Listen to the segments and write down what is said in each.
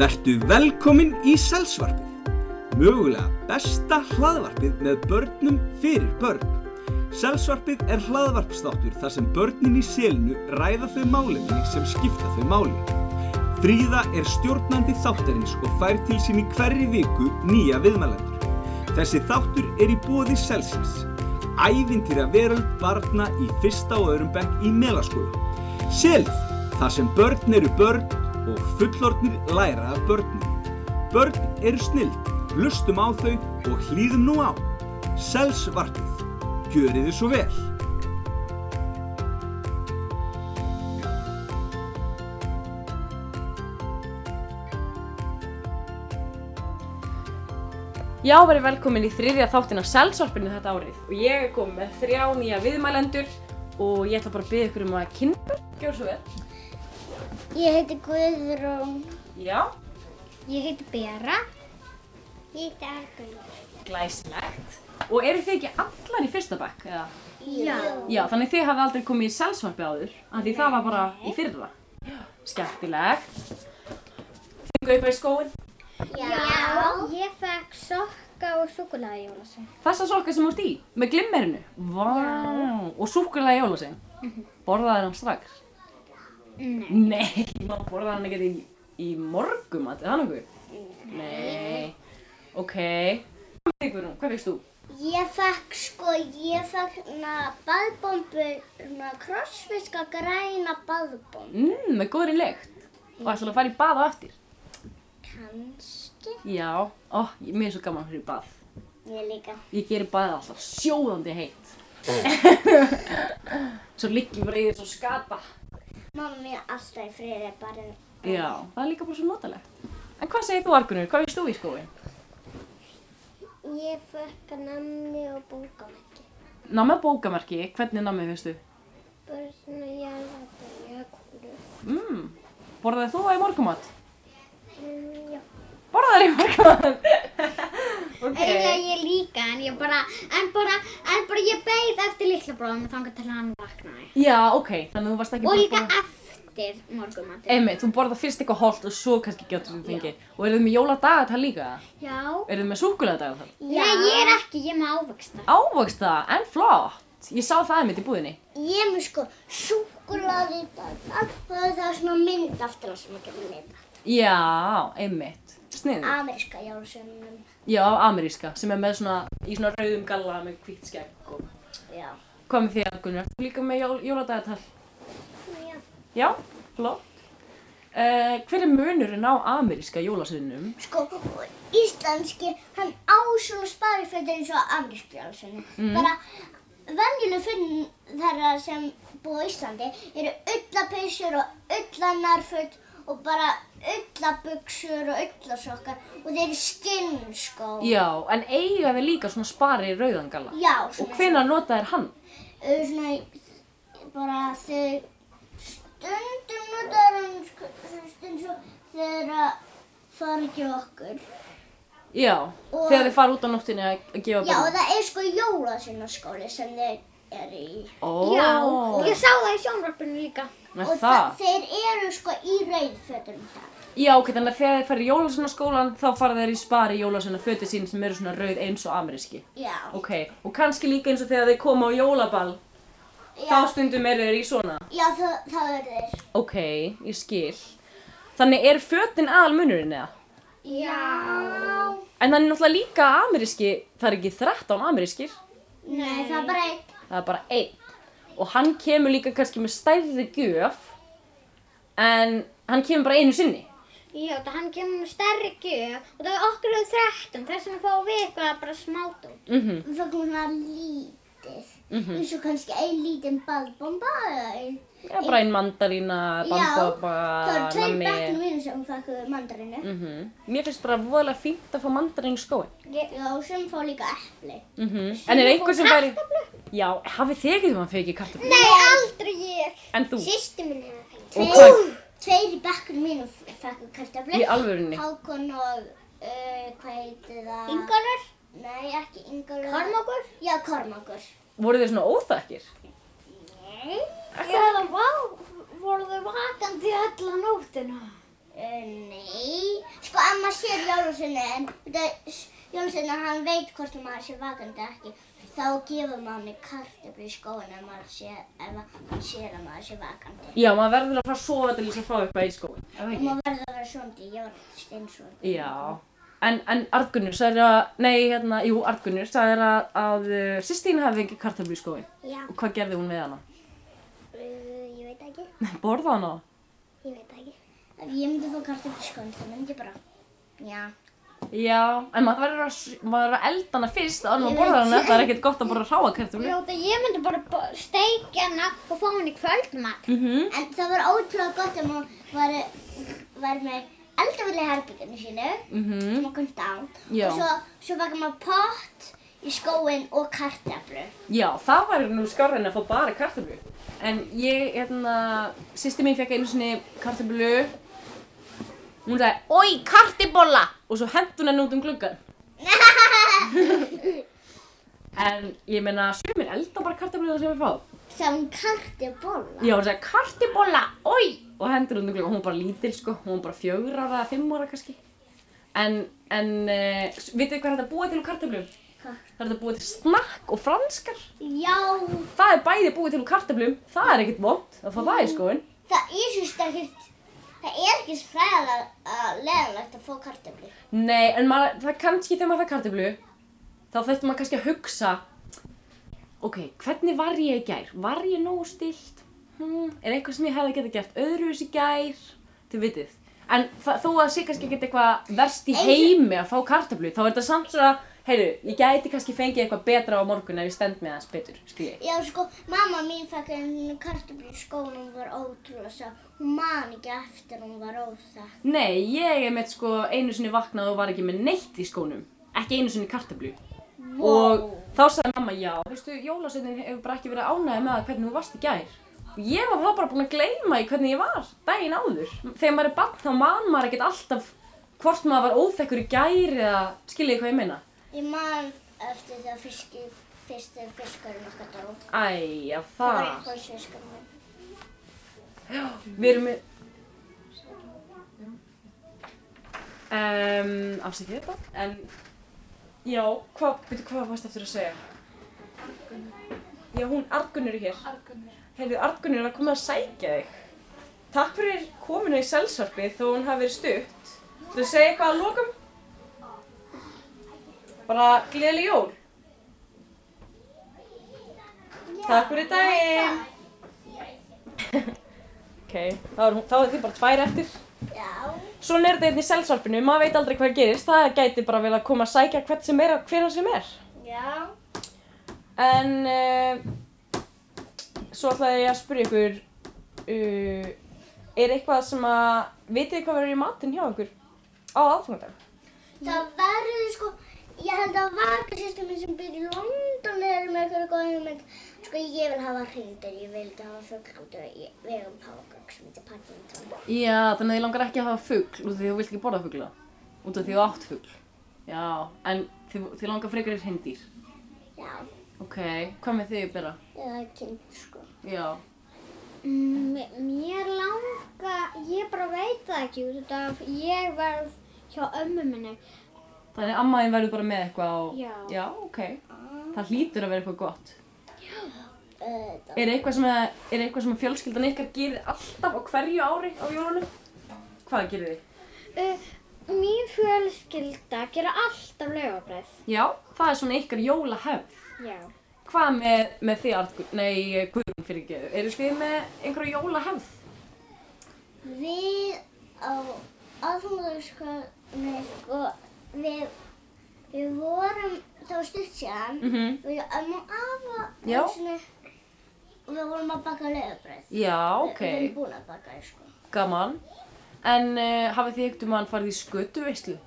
Vertu velkomin í Selsvarpið, mögulega besta hlaðvarpið með börnum fyrir börn. Selsvarpið er hlaðvarpstáttur þar sem börnin í selinu ræða þau málefni sem skipta þau máli. Fríða er stjórnandi þáttarins og fær til sín í hverri viku nýja viðmælendur. Þessi þáttur er í bóði Selsins, ævintýra veröld barna í fyrsta og öðrum bekk í melaskólu. Selð, þar sem börn eru börn og fullornir læra af börnum. Börn eru snild, hlustum á þau og hlýðum nú á. Selsvarpið, gjörið þið svo vel. Já, verið velkomin í þriðja þáttin af Selsvarpinu þetta árið og ég er komið með þrjá nýja viðmælendur og ég ætla bara að byggja ykkur um að kynna Gjör svo vel Ég heiti Guðrún. Já, Ég heiti Bera. Ég heiti Argunur. glæsilegt Og eru þið ekki allar í fyrsta bekk? Eða? Já. Já, þannig þið hafði aldrei komið í Selsvarpi áður af því það var bara í fyrra Skemmtilegt Þið gaupa í skóin Já. Ég fekk sokka og súkulega jólasa. Þessa sokka sem þú ert í, með glimmerinu Vá, og súkulega jólasinn Borðaði hann strax? Nei. Nei, maður borðaði hann ekkert í, í morgum, að það er nokkuð? Nei. Ok. Hvað með ykkur nú? Hvað veist þú? Ég fekk sko, ég fekk na baðbombu, na krossfiska græna baðbombu. Mmm, með góðri lykt. Og ætlaðu að fara í bað á eftir? Kanski. Já. Ó, ég, mér er svo gaman að fyrir bað. Ég líka. Ég gerir baðið alltaf sjóðandi heitt. svo ligg ég bara í þessu skata. Mamma mér alltaf í friði bara. Já, það er líka bara svo notalegt. En hvað segir þú, Argunur? Hvað veist þú í skóin? Ég fekk namni og bókamekki. Námið bókamerki, hvernig námið veistu? Bara svona jálfatur, jákúlu. Mmm, borðaði þú það í morgumat? Mm, já. Borðaði í morgumat? ok. Eiginlega ég líka, en ég bara, en bara, en bara ég beið eftir litla bróðum og þangar til hann vaknaði. Já, ok, þannig að þú varst ekki Og bara líka búin að- eftir morgumatur. Einmitt, þú borðar fyrst eitthvað holdt og svo kannski getur þú fengið. Og eru þið með jóladagat það líka? Já. Eru þið með súkulegadagat það? Nei, ég er ekki, ég er með ávöxta. Ávöxta, en flott! Ég sá það einmitt í búðinni. Ég er með sko súkulaði og það er svona mynd aftur á sem ég getur leita. Já, einmitt. Sniður. Ameríska jólasönnum. Já, ameríska, sem er með svona, í svona rauðum galla með hvitt skegg og... Já. Hvað með þér, Gunnar? Þú líka með jól, jóladagatal? Já. Já, flott. Uh, hver er munurinn á ameríska jólasöðnum? Sko, og íslenski, hann á svona sparifötur eins og amerísku jólasönni. Mm. Bara venjuleg funn þeirra sem búa á Íslandi eru ullapeysur og ullanarföt og bara ullabuxur og ullasokkar og þeir eru skinnskó. Já, en eiga þið líka svona spari rauðan galla? Já, Og svona, hvenær nota þér hann? uh, svona í- bara þau stundum notaður hann sko, stundum svo þegar að fara ekki okkur. Já, Og- þegar þið fara út á nóttinni að að gefa Já, og börnum. það er sko jólasunarskóli sem þeir eru í. Ó, ég sá það í sjónvarpinu líka. Með og það? þeir eru sko í rauðfötum þar. já, ok, þannig að þegar þið fara í jólasunarskólan þá fara þeir í spari jólasuna fötu sín sem eru svona rauð eins og ameríski. Já. Ok, og kannski líka eins og þegar þið koma á jólaball, þá já, stundum eru þeir í svona. já, það, það eru þeir. Ok, ég skil. Þannig er fötin aðal munurinn eða? Já. En þannig náttúrulega líka ameríski, það er ekki 13 amerískir, Nei, það er bara eitt. það er bara einn. Og hann kemur líka kannski með stærri gjöf, en hann kemur bara einu sinni. Já, það hann kemur með stærri gjöf og það er okkur um 13, þess vegna fáum við eitthvað bara smátt út. Mhm. Við fáum svona lítið, eins og kannski ein lítinn baðbomba eða ein... Já, bara einn mandarína, bandabba, Já, það eru tveir bekknum mínum sem fækku mandarinu. Mm Mér finnst bara voðalega fínt að fá mandarín í skóin. Ég, já, sem fá líka epli. Mm En er einhver sem væri... Já, hafið þið ekki þegar maður fekið kartablu? Nei, aldrei ég. En þú? Sýstu minn hefur fengið. Og hvað? Tveir, tveir í bekkunum mínum fekku kartafli. Í alvörunni? Hákon og, uh, hvað heitir það? Ingolur? Nei, ekki Ingolur. Kormakur? Já, Kormakur. Voru þið svona óþakkir? Nei. Ég hefði, vá, voru þau vakandi allan nóttina? Uh, nei, sko amma sér Jólusinni en Jólusinni hann veit hvort að maður sé vakandi eða ekki. Þá gefur maður henni kartöflu í skóin ef maður sé, ef hann sér að maður sé vakandi. Já, maður verður að fara að sofa til þess að fá upp að í skóin. Er það Og ekki? maður verður að vera svondi, ég var steinsvöld. Já. En, en Arngunnur sagði að, nei, hérna, jú, Arngunnur sagði að, að uh, sýstín hafi ekki kartablu í skóin. Já, Og hvað gerði hún við hana? uh, ég veit ekki, Borða hana? ég veit ekki. Ef ég myndi fá kartöflu í skóin þá myndi ég bara, já. Já, en maður verður að, s- maður verður að elda hana fyrst áður en Ég maður borðar veit. hana. Það er ekkert gott að borða ráa kartablu. Ljóta, ég myndi bara steikja hana og fá hann í kvöldmat. Mm -hmm. En það var ótrúlega gott ef maður var, var með eldavillig herbygginu sínu. sem maður komst á Já. og svo, svo vakar maður pott í skóin og kartaflu Já, það væri nú skárra en að fá bara kartablu. En ég, hérna, sýsti mín fekk einu sinni kartablu. Hún sagði, oi, kartibolla! Og svo hendt hún henni út um gluggan. en ég meina, sumir elda bara kartablu það sem við fáum. sem hún karti bolla Já, hún sagði, kartibolla, oi! Og hendur hún um gluggan, hún var bara lítil, sko. Hún var bara fjögur ára eða fimm ára kannski. En, en, uh, vitið þið hvað er þetta að búa til úr kartablu? Það Hvað? er þetta að búa til snakk og franskar. já Það er bæði búið til úr kartöflum, það er ekkert vond, að fá það í skóin. það ég syns það ekkert það er ekki fræðilega leðanlegt að fá kartaflu Nei, en maður, það er kannski þegar maður fær kartöflu, þá þurfti maður kannski að hugsa, ok, hvernig var ég í gær? Var ég nógu stilt? Hmm, er eitthvað sem ég hefði getið gert öðruvis í gær? Þið vitið. En það- þó að það sé kannski ekkert eitthvað verst í Eins- heimi að fá kartöflu, þá er þetta samt svona, heyrðu, ég gæti kannski fengið eitthvað betra á morgun ef ég stend með hans betur, skil ég. já sko mamma mín fekk einu kartaflu í skóin hún var ótrúlega sá hún man ekki eftir hún var óþekk Nei, ég er með sko einu sinni vaknað og var ekki með neitt í skónum. Ekki einu sinni kartablu. Og þá sagði mamma, já, veistu, jólasveitin hefur bara ekki verið ánægði með það hvernig þú varst í gær. Og Ég var þá bara búin að gleyma í hvernig ég var daginn áður. Þegar maður er barn þá man maður ekkert alltaf hvort maður var óþekkur í gær eða skiljiði hvað ég meina. ég man eftir það fiski fyrst þegar fiskarinn okkar dó Æ, já það. það var eitthvað fiskarinn minn Við erum með... Um, afsakið þetta, en... Já, hvað, veitu hvað varst eftir að segja? Já, hún, Argunnur er hér. Argunnur. Heyrðu, Argunnur er að koma að sækja þig. Takk fyrir kominu í selsvarpið þó hún hafi verið stutt. Þú segja eitthvað að lokum? Bara gleðileg jól. Takk fyrir daginn. Ok, þá er, hún- þá er þið bara tvær eftir. já Svona er þetta einn í selsvarpinu, maður veit aldrei hvað gerist, það gæti bara vel að koma að sækja hvert sem er, hverna sem er. já En uh, svo ætlaði ég að spyrja ykkur, uh, er eitthvað sem að, vitið þið hvað verður í matinn hjá ykkur á aðfangandag? Það verður sko, ég held að vaka sýstumin sem býr í London er með eitthvað góð hugmynd. Sko ég vil hafa hrindur, ég vil ekki hafa fugl út og ég vil hafa pákak sem heitir Paddington. Já, þannig að ég langar ekki að hafa fugl, út af því þú vilt ekki borða fugla, út af því þú átt fugl. Já, en þið, þið langar frekar er hindýr. Já, Ok, hvað með þið, Bera? eða kind sko. Já. Mm, mér langa, ég bara veit það ekki út af ég var hjá ömmu minni. Þannig að ammaðin verður bara með eitthvað á... Já. Já, ok. Það hlýtur að vera eitthvað gott. Auðvitað. Er eitthvað sem, að, er eitthvað sem að fjölskyldan ykkar gerir alltaf á hverju ári á jólunum? Hvað gerir þið? Uh, mín fjölskylda gera alltaf lögabræð. Já, það er svona ykkar jólahefð. Já. Hvað með, með þið, Artgur, nei, Guðrún fyrir ekki, eru þið með einhverja jólahefð? Við á aðfangarskóðinu sko, við, við vorum, það var stutt síðan, Mhm. við ömmu og afa, Já. einu sinni, og við vorum að baka lögabröð. Já, ok, Við erum búin að baka þau sko. gaman. En uh, hafið þið ekkert um að farið í skötuveislu?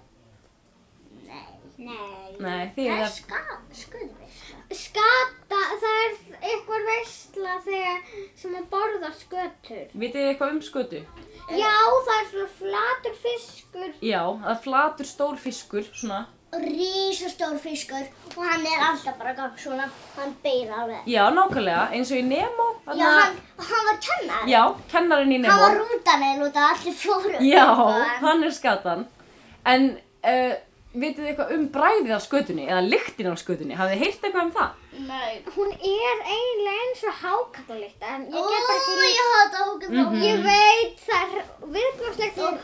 Nei. Nei. Nei, þið Það er er ska, skuðveisla. Skata, það er eitthvað veisla þegar sem að borða skötur. Vitið þið eitthvað um skötu? Já, það er svona flatur fiskur. Já, það er flatur stór fiskur, svona, risastór fiskur og hann er alltaf bara gang svona, hann beir alveg. Já, nákvæmlega, eins og í Nemo. Já, hann, hann var kennar. Já, kennarinn í Nemo. Hann var rútanil og það allir fóru. Já, upp á hann. hann er skatan. En uh, vitið þið eitthvað um bræðið af skötunni eða lyktin af skötunni? Hafið þið heyrt eitthvað um það? Nei. Hún er eiginlega eins og hákallalikt en Ó, ég get bara ekki ég hata hókum mm Mhm. líka. Ég veit það er viðbjörnslegt og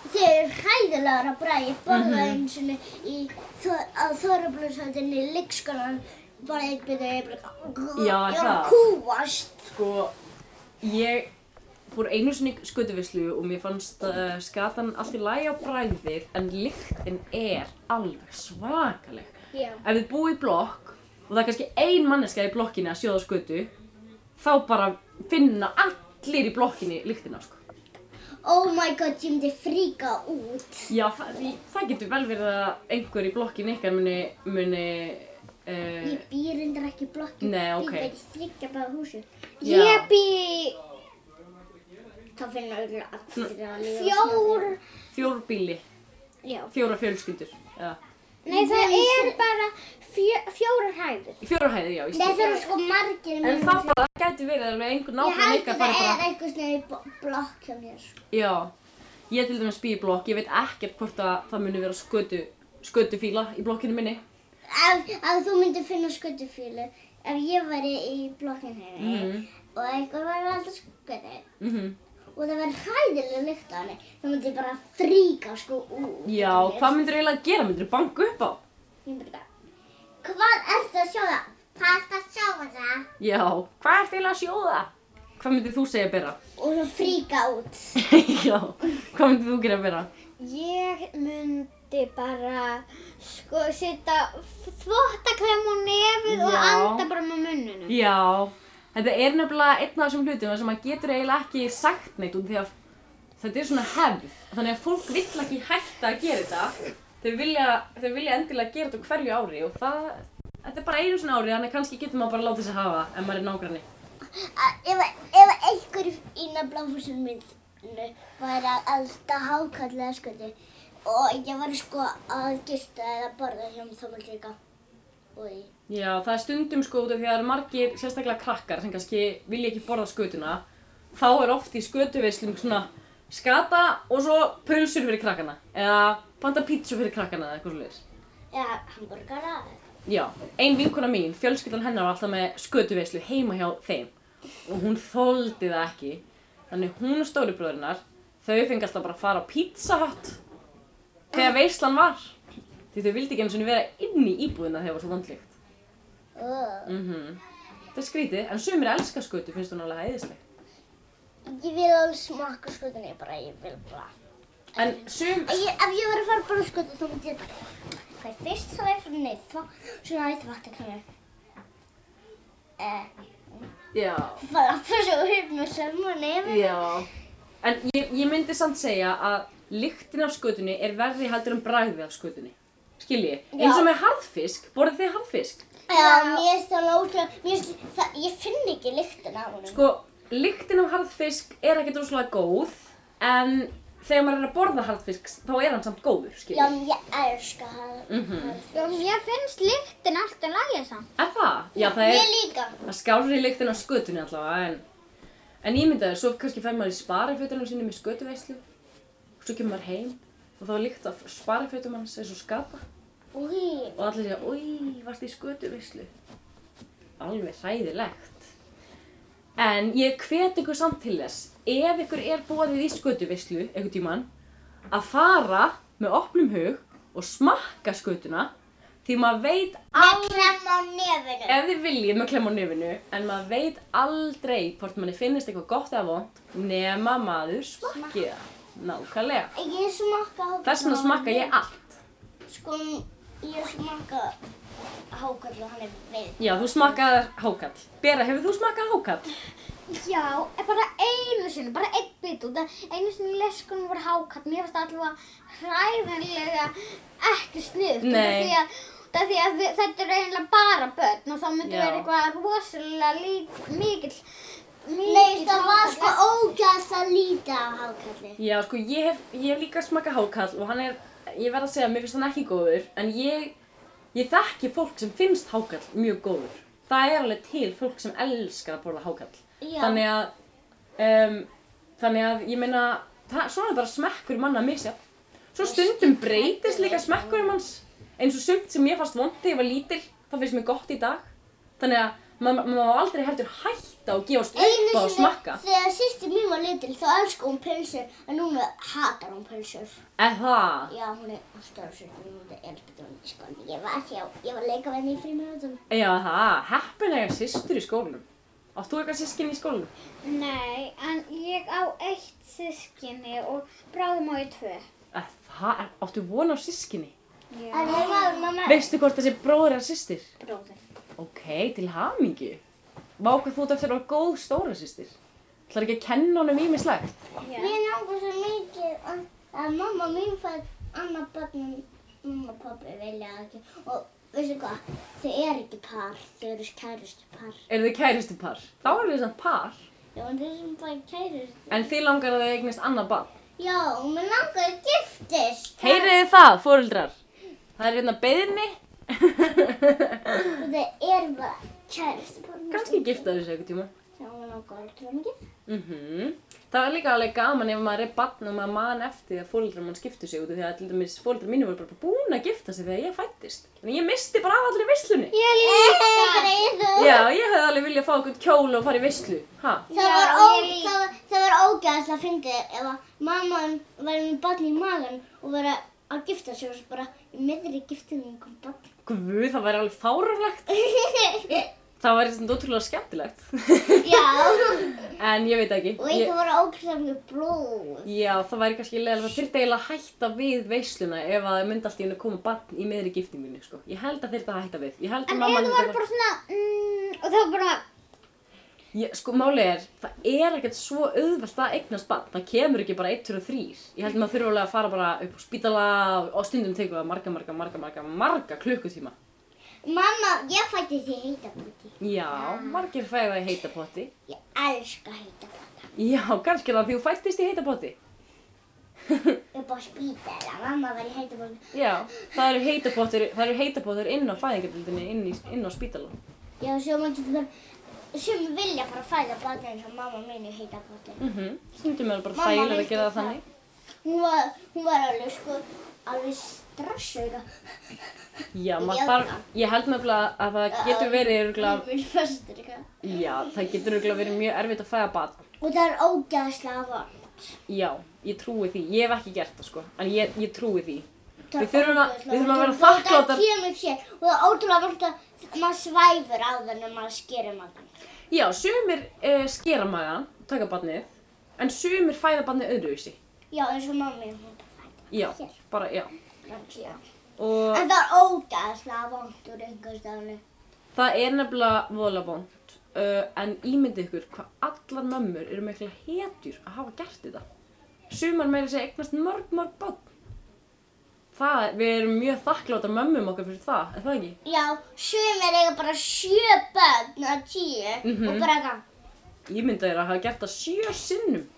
Þeir eru hræðilegar að bræða. Ég borðaði Mhm. einu sinni í, Þor- á Þorablushöldinni í leikskólan. Bara eitt bitur og ég bara... Já, ég var það. að kúast. Sko, ég fór einu sinni í skötuvislu og mér fannst uh, skatan allt í lagi á bræðið en lyktin er alveg svakaleg. Já. Ef þið búið í blokk og það er kannski ein manneska í blokkinni að sjóða skötu, þá bara finna allir í blokkinni lyktina, sko. Oh my god, ég myndi fríka út. Já, það, því- það getur vel verið að einhver í blokkin ykkar muni, muni uh, Ég býr reyndar ekki í blokkinu. Nei, ok. Ég býr bara í þryggja bæða húsi. Já. ég bý Þá finna öll allir að lifa. fjór fjór bíli, Já. fjóra fjölskyldur. Ja. Nei það er bara fjó, fjórar hæðir Í fjóra hæði, já, ég Nei, skil. það eru sko margir En það bara gæti verið alveg einhver Ég nákvæm held ykkar að það fari er bara. eitthvað svona í bo- blokk hjá mér. Já, ég til dæmis bý í blokk, ég veit ekkert hvort að það muni vera skötu, skötufíla í blokkinu minni. Ef, ef þú myndir finna skutufílu, ef ég væri í blokkinu henni Mhm. og eitthvað væri alltaf skutu Mm og það væri hræðilega lykt á henni, þá myndi ég bara fríka sko út. Já, hvað myndir eiginlega gera? Myndir banka upp á? Ég myndi bara, hvað ertu að sjá það? Hvað ertu að sjá það? Já, hvað ert eiginlega að sjóða? Hvað myndir þú segja að bera? Og svo fríka út. já, hvað myndir þú gera að bera? Ég myndi bara sko setja þvottakrem á nefið og Já. anda bara með munnunum Já, þetta er nefnilega einn af þessum hlutum þar sem maður getur eiginlega ekki sagt neitt út því að þetta er svona hefð þannig að fólk vill ekki hætta að gera þetta þau vilja, þau vilja endilega gera þetta á hverju ári og það þetta er bara einu svona ári þannig að kannski getur maður bara að láta sig hafa ef maður er nágranni Að- Ef, ef einhver í nafnblófusum minnu væri að elda hákallega skutu og ég var sko að gista eða borða hjá mér þá mjög líka og í. Já, það er stundum sko út af því að það eru margir sérstaklega krakkar sem kannski vilja ekki borða skutuna þá er oft í skötuveislum svona skata og svo pulsur fyrir krakkana eða panta pítsu fyrir krakkana eða eitthvað svolítið eða hamburgara eða- Já, ein vinkona mín, fjölskyldan hennar var alltaf með skötuveislu heima hjá þeim og hún þóldi það ekki þannig hún og stóribröðurinnar þau fengi alltaf bara að fara á Pizza Hut þegar veislan var því þau vildi ekki eins og vera inn í íbúðina þegar það var svo vondlíkt Ugh. mm Þetta er skrítið, en sumir elska skötu, finnst hún alveg hæðisleg Ég vil alveg smakka skutunni bara, ég vil bara. En sum, Ég, ef ég var að fara bara skutu þá myndi ég bara, hvað er fyrst þá er fyrir neitt þá, svona eitt vatnakræmi. Eh, já, bara fyrir svo hérna sem og nefnir. já En ég, ég myndi samt segja að lyktin af skötunni er verri heldur en bragðið af skötunni Skiljið, eins og Já. með harðfisk, borðið þið harðfisk? Já, mér finnst það lóta, mér finnst það, ég finn ekki lyktin af honum. Sko, lyktin af harðfisk er ekkert rosalega góð, en þegar maður er að borða harðfisk, þá er hann samt góður, Já, skiljið. en ég elska það. Mm Já, mér finnst lyktin alltaf lægja samt Er það? Já, það Ég er, líka. það skárir lyktin af skötunni allavega, en, en ég myndi að svo kannski fær maður í sparafjötunum sinni með skötuveislu, svo kemur maður heim og þá er lykt af sparafjötum hans eins og skapa Úi, og allir segja, oi, varst í skötuveislu. Alveg hræðilegt. En ég hvet ykkur samt til þess, ef ykkur er boðið í skötuvislu einhvern tíman, að fara með opnum hug og smakka skötuna, því maður veit, með krem á nefinu. ef þið viljið með klem á nefinu, en maður veit aldrei hvort manni finnist eitthvað gott eða vond, nema maður smakki það. Nákvæmlega. Ég smakka hákarl. Þess vegna smakka ég allt. Sko, ég smakka hákarl og hann er við. Já, þú smakkaðar hákall. Bera, hefur þú smakkað hákall? Já, en bara einu sinni, bara einn bit út af einu sinni í leskunum var hákatt Mér finnst það alltaf hræðanlega ekki sniðugt út af Nei. því að út af því að við, þetta eru eiginlega bara börn og þá myndi Já. vera eitthvað rosalega lík, mikill sko Nei, það var sko ógæðast að líta á hákarli. Já, sko, ég hef, ég hef líka smakað hákall og hann er, ég verð að segja, mér finnst hann ekki góður, en ég, ég þekki fólk sem finnst hákall mjög góður. Það er alveg til fólk sem elskar að borða hákall. Já. Þannig að, um, þannig að, ég meina, það, svona er bara smekkur manna að misja. Svo stundum breytist líka smekkurinn manns, eins og sumt sem ég fannst vond þegar ég var lítil, það finnst mér gott í dag. Þannig að, maður ma ma má aldrei heldur hætta og gefast upp á að smakka. þegar sýsti mín var litil þá elskar hún pulsur en núna hatar hún pulsur. Eða það? Já, hún er alltaf sýsti mín og það er elskar hún í skólanum. Ég var hjá, ég var að leika við henni í fríminútum. Já, það, heppilega systur í skólanum. Átt þú eitthvað sískinni í skólanum? Nei, en ég á eitt sískinni og bráðum á ég tvö. Eh, Það, er- áttu von á sískinni? Já. En ég var mamma Veistu hvort þessi bróður er systir? bróður. Ok, til hamingi. Vá hvað þú ert eftir að vera góð stóra systir. Ætlar ekki að kenna honum ímislegt? Já. Mér langar svo mikið að, að mamma mín fær annað barn en mamma og pabbi vilja það ekki. Og veistu hvað, þau eru ekki par, þau eru kærustu par. Eru þið kæristu par? Þá eru þið samt par, Já, en þau sem fær kærustu. en þið langar að þið eignist annað barn. Já, og mér langar að giftist. Heyrið þið það, fóruldrar? Það er hérna beðinni. Og þau eru bara kærustu par. Kanski gifta þessu einhvern tíma. Já, mér langar að trúa mikið. Mm Það er líka alveg gaman ef maður er barn og maður man eftir því að fóreldrar mann skiptu sig út af því að til dæmis fóreldrar mínu voru bara búin að gifta sig þegar ég fættist. En ég misti bara af allri visslunni. Ég líka. Já, ég hefði alveg viljað fá einhvern kjól og fara í visslu. Ha? Það Já, var, ó, ég það líka. var, það var ógæðslega að fyndið ef að mamman væri með barn í magan og verið að gifta sig og svo bara í miðri giftinni kom barn. Guð, það væri alveg fáránlegt. Það væri svona ótrúlega skemmtilegt. Já, en ég veit ekki. og Ég, það var ógæðslega mjög um blóð. já, það væri kannski leðilega. Það þurfti eiginlega að hætta við vissluna ef að það myndi alltaf inn að koma barn í miðri giftingunni, sko. Ég held að þurfti að hætta við. Ég held að En mamma ef það myndi var bara- bara svona, mm, og það var bara, Ég, sko, málið er, það er ekkert svo auðvelt að eignast barn. Það kemur ekki bara 1, 2 og 3. Ég held að maður þurfi alveg að fara bara upp á spítala og- og stundum tekur það marga, marga, marga, marga, marga klukkutíma. Mamma, ég fætti því heita bóti. Já, margir fæða í heitapotti. Ég elska heita bóta. Já, kannski er það því þú fættist í heitapotti. Upp á spítala, mamma var í heita bóti. Já, það eru heitapottir, það eru heitapottir inn á fæðingardildinni, inn, í- inn á spítala. Já, sem að getur bara, sem vilja bara fæða barn eins og mamma mín í heita bóti. Mm Stundum er bara Mamma þægilega að vildi gera það það. þannig. Hún var, hún var alveg sko, alveg stressauð Já, Ég maður held þarf, ég held nefnilega að það getur verið örgulega, Mér fastur eitthvað. já, það getur örgulega verið mjög erfitt að fæða barn. Og það er ógæðslega vond. Já, ég trúi því. Ég hef ekki gert það sko, en ég, ég trúi því. Það er Við þurfum að- ógeðslega við þurfum að vera vont. Og þakkláttar. Það kemur sér og það er ótrúlega vond að maður svæfur á það en maður skerir magan. Já, sumir eh, skera magan, taka barnið, en sumir fæða barnið öðruvísi. Já, eins og mamma mín, hún bara fætt. Já, Hér. bara, já. Já. Og En það er ógæðslega vond úr einhvers stafni. það er nefnilega voðalega vond. Uh, en ímyndið ykkur hvað allar mömmur eru mikla hetjur að hafa gert þetta. Sumar meira segja eignast mörg, mörg barn. Það, við erum mjög þakkláta mömmum okkar fyrir það, er það ekki? Já, sumir eiga bara sjö börn að tíu Mhm. og bara eitthvað. Ég myndi þeirra að hafa gert það sjö sinnum.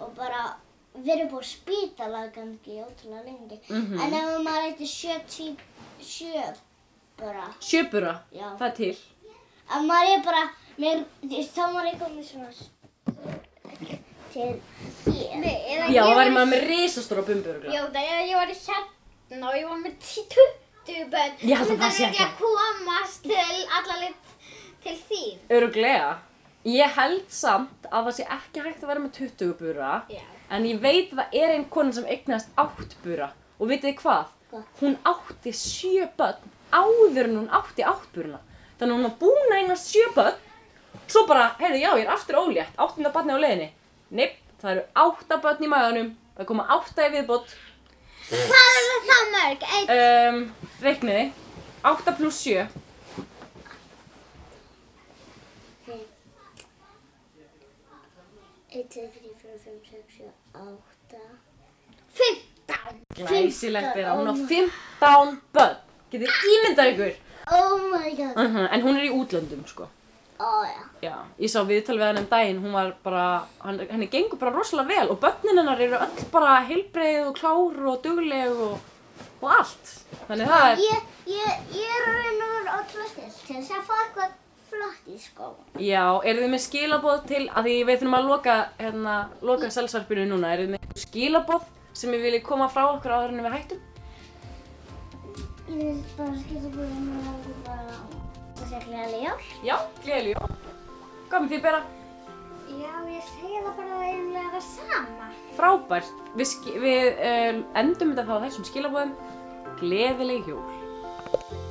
og bara verið búið að spýta lagandi ótrúlega lengi. Mhm. En ef maður ætti sjö, tí, sjö bara, Sjöbura, Já. það er til. ef maður er bara, mér, þú veist, þá maður er komið svona s- til hér. nei, eða Já, ég það væri var, maður með risastóra bumburugla. já, það er að ég var hérna og ég var með 20 bönn. Ég held að það sé ekki að komast til allalit til þín. Öruglega. Ég held samt að það sé ekki hægt að vera með 20 bura. Já. En ég veit að það er einn konan sem eignast 8 bura. Og vitið þið hvað? Hvað? Hún átti 7 börn áður en hún átti 8 buruna. Þannig að hún var búin að eignast 7 börn. Svo bara, heyrðu, já, ég er aftur ólétt. Áttunda barni á leiðinni. Nei, það eru 8 börn í maðunum. Það koma 8 í viðbót. Hvað er það það mörg? Eitt, Um, reikniði. 8 pluss 7. Einn, tveir, þrír, fjórir, fimm, sex, sjö, átta. 15. Glæsilegt er að hún á 15 börn. Getur ímyndað ykkur. Oh my god. Mhm, Uh En hún er í útlöndum, sko. Ó, já. Já, ég sá viðtal við hann um daginn, hún var bara, hann, henni gengur bara rosalega vel og börnin hennar eru öll bara heilbreið og klár og dugleg og, og allt. Þannig það er, Ég, ég, ég er raun og vera ótrúlega snill til þess að fá eitthvað flott í skóin. já, eru þið með skilaboð til, að því við þurfum að loka, hérna, loka selsvarpinu núna, eru þið með skilaboð sem við viljið koma frá okkur áður en við hættum? Ég vil bara skilja búið um að vera og segla alveg jól. Já, gleðileg jól. Hvað með því bera? Já, ég segi það bara eiginlega það sama. Frábært. Við, eh, ski- við uh, endum þetta þá á þessum skilabóðum. Gleðileg jól.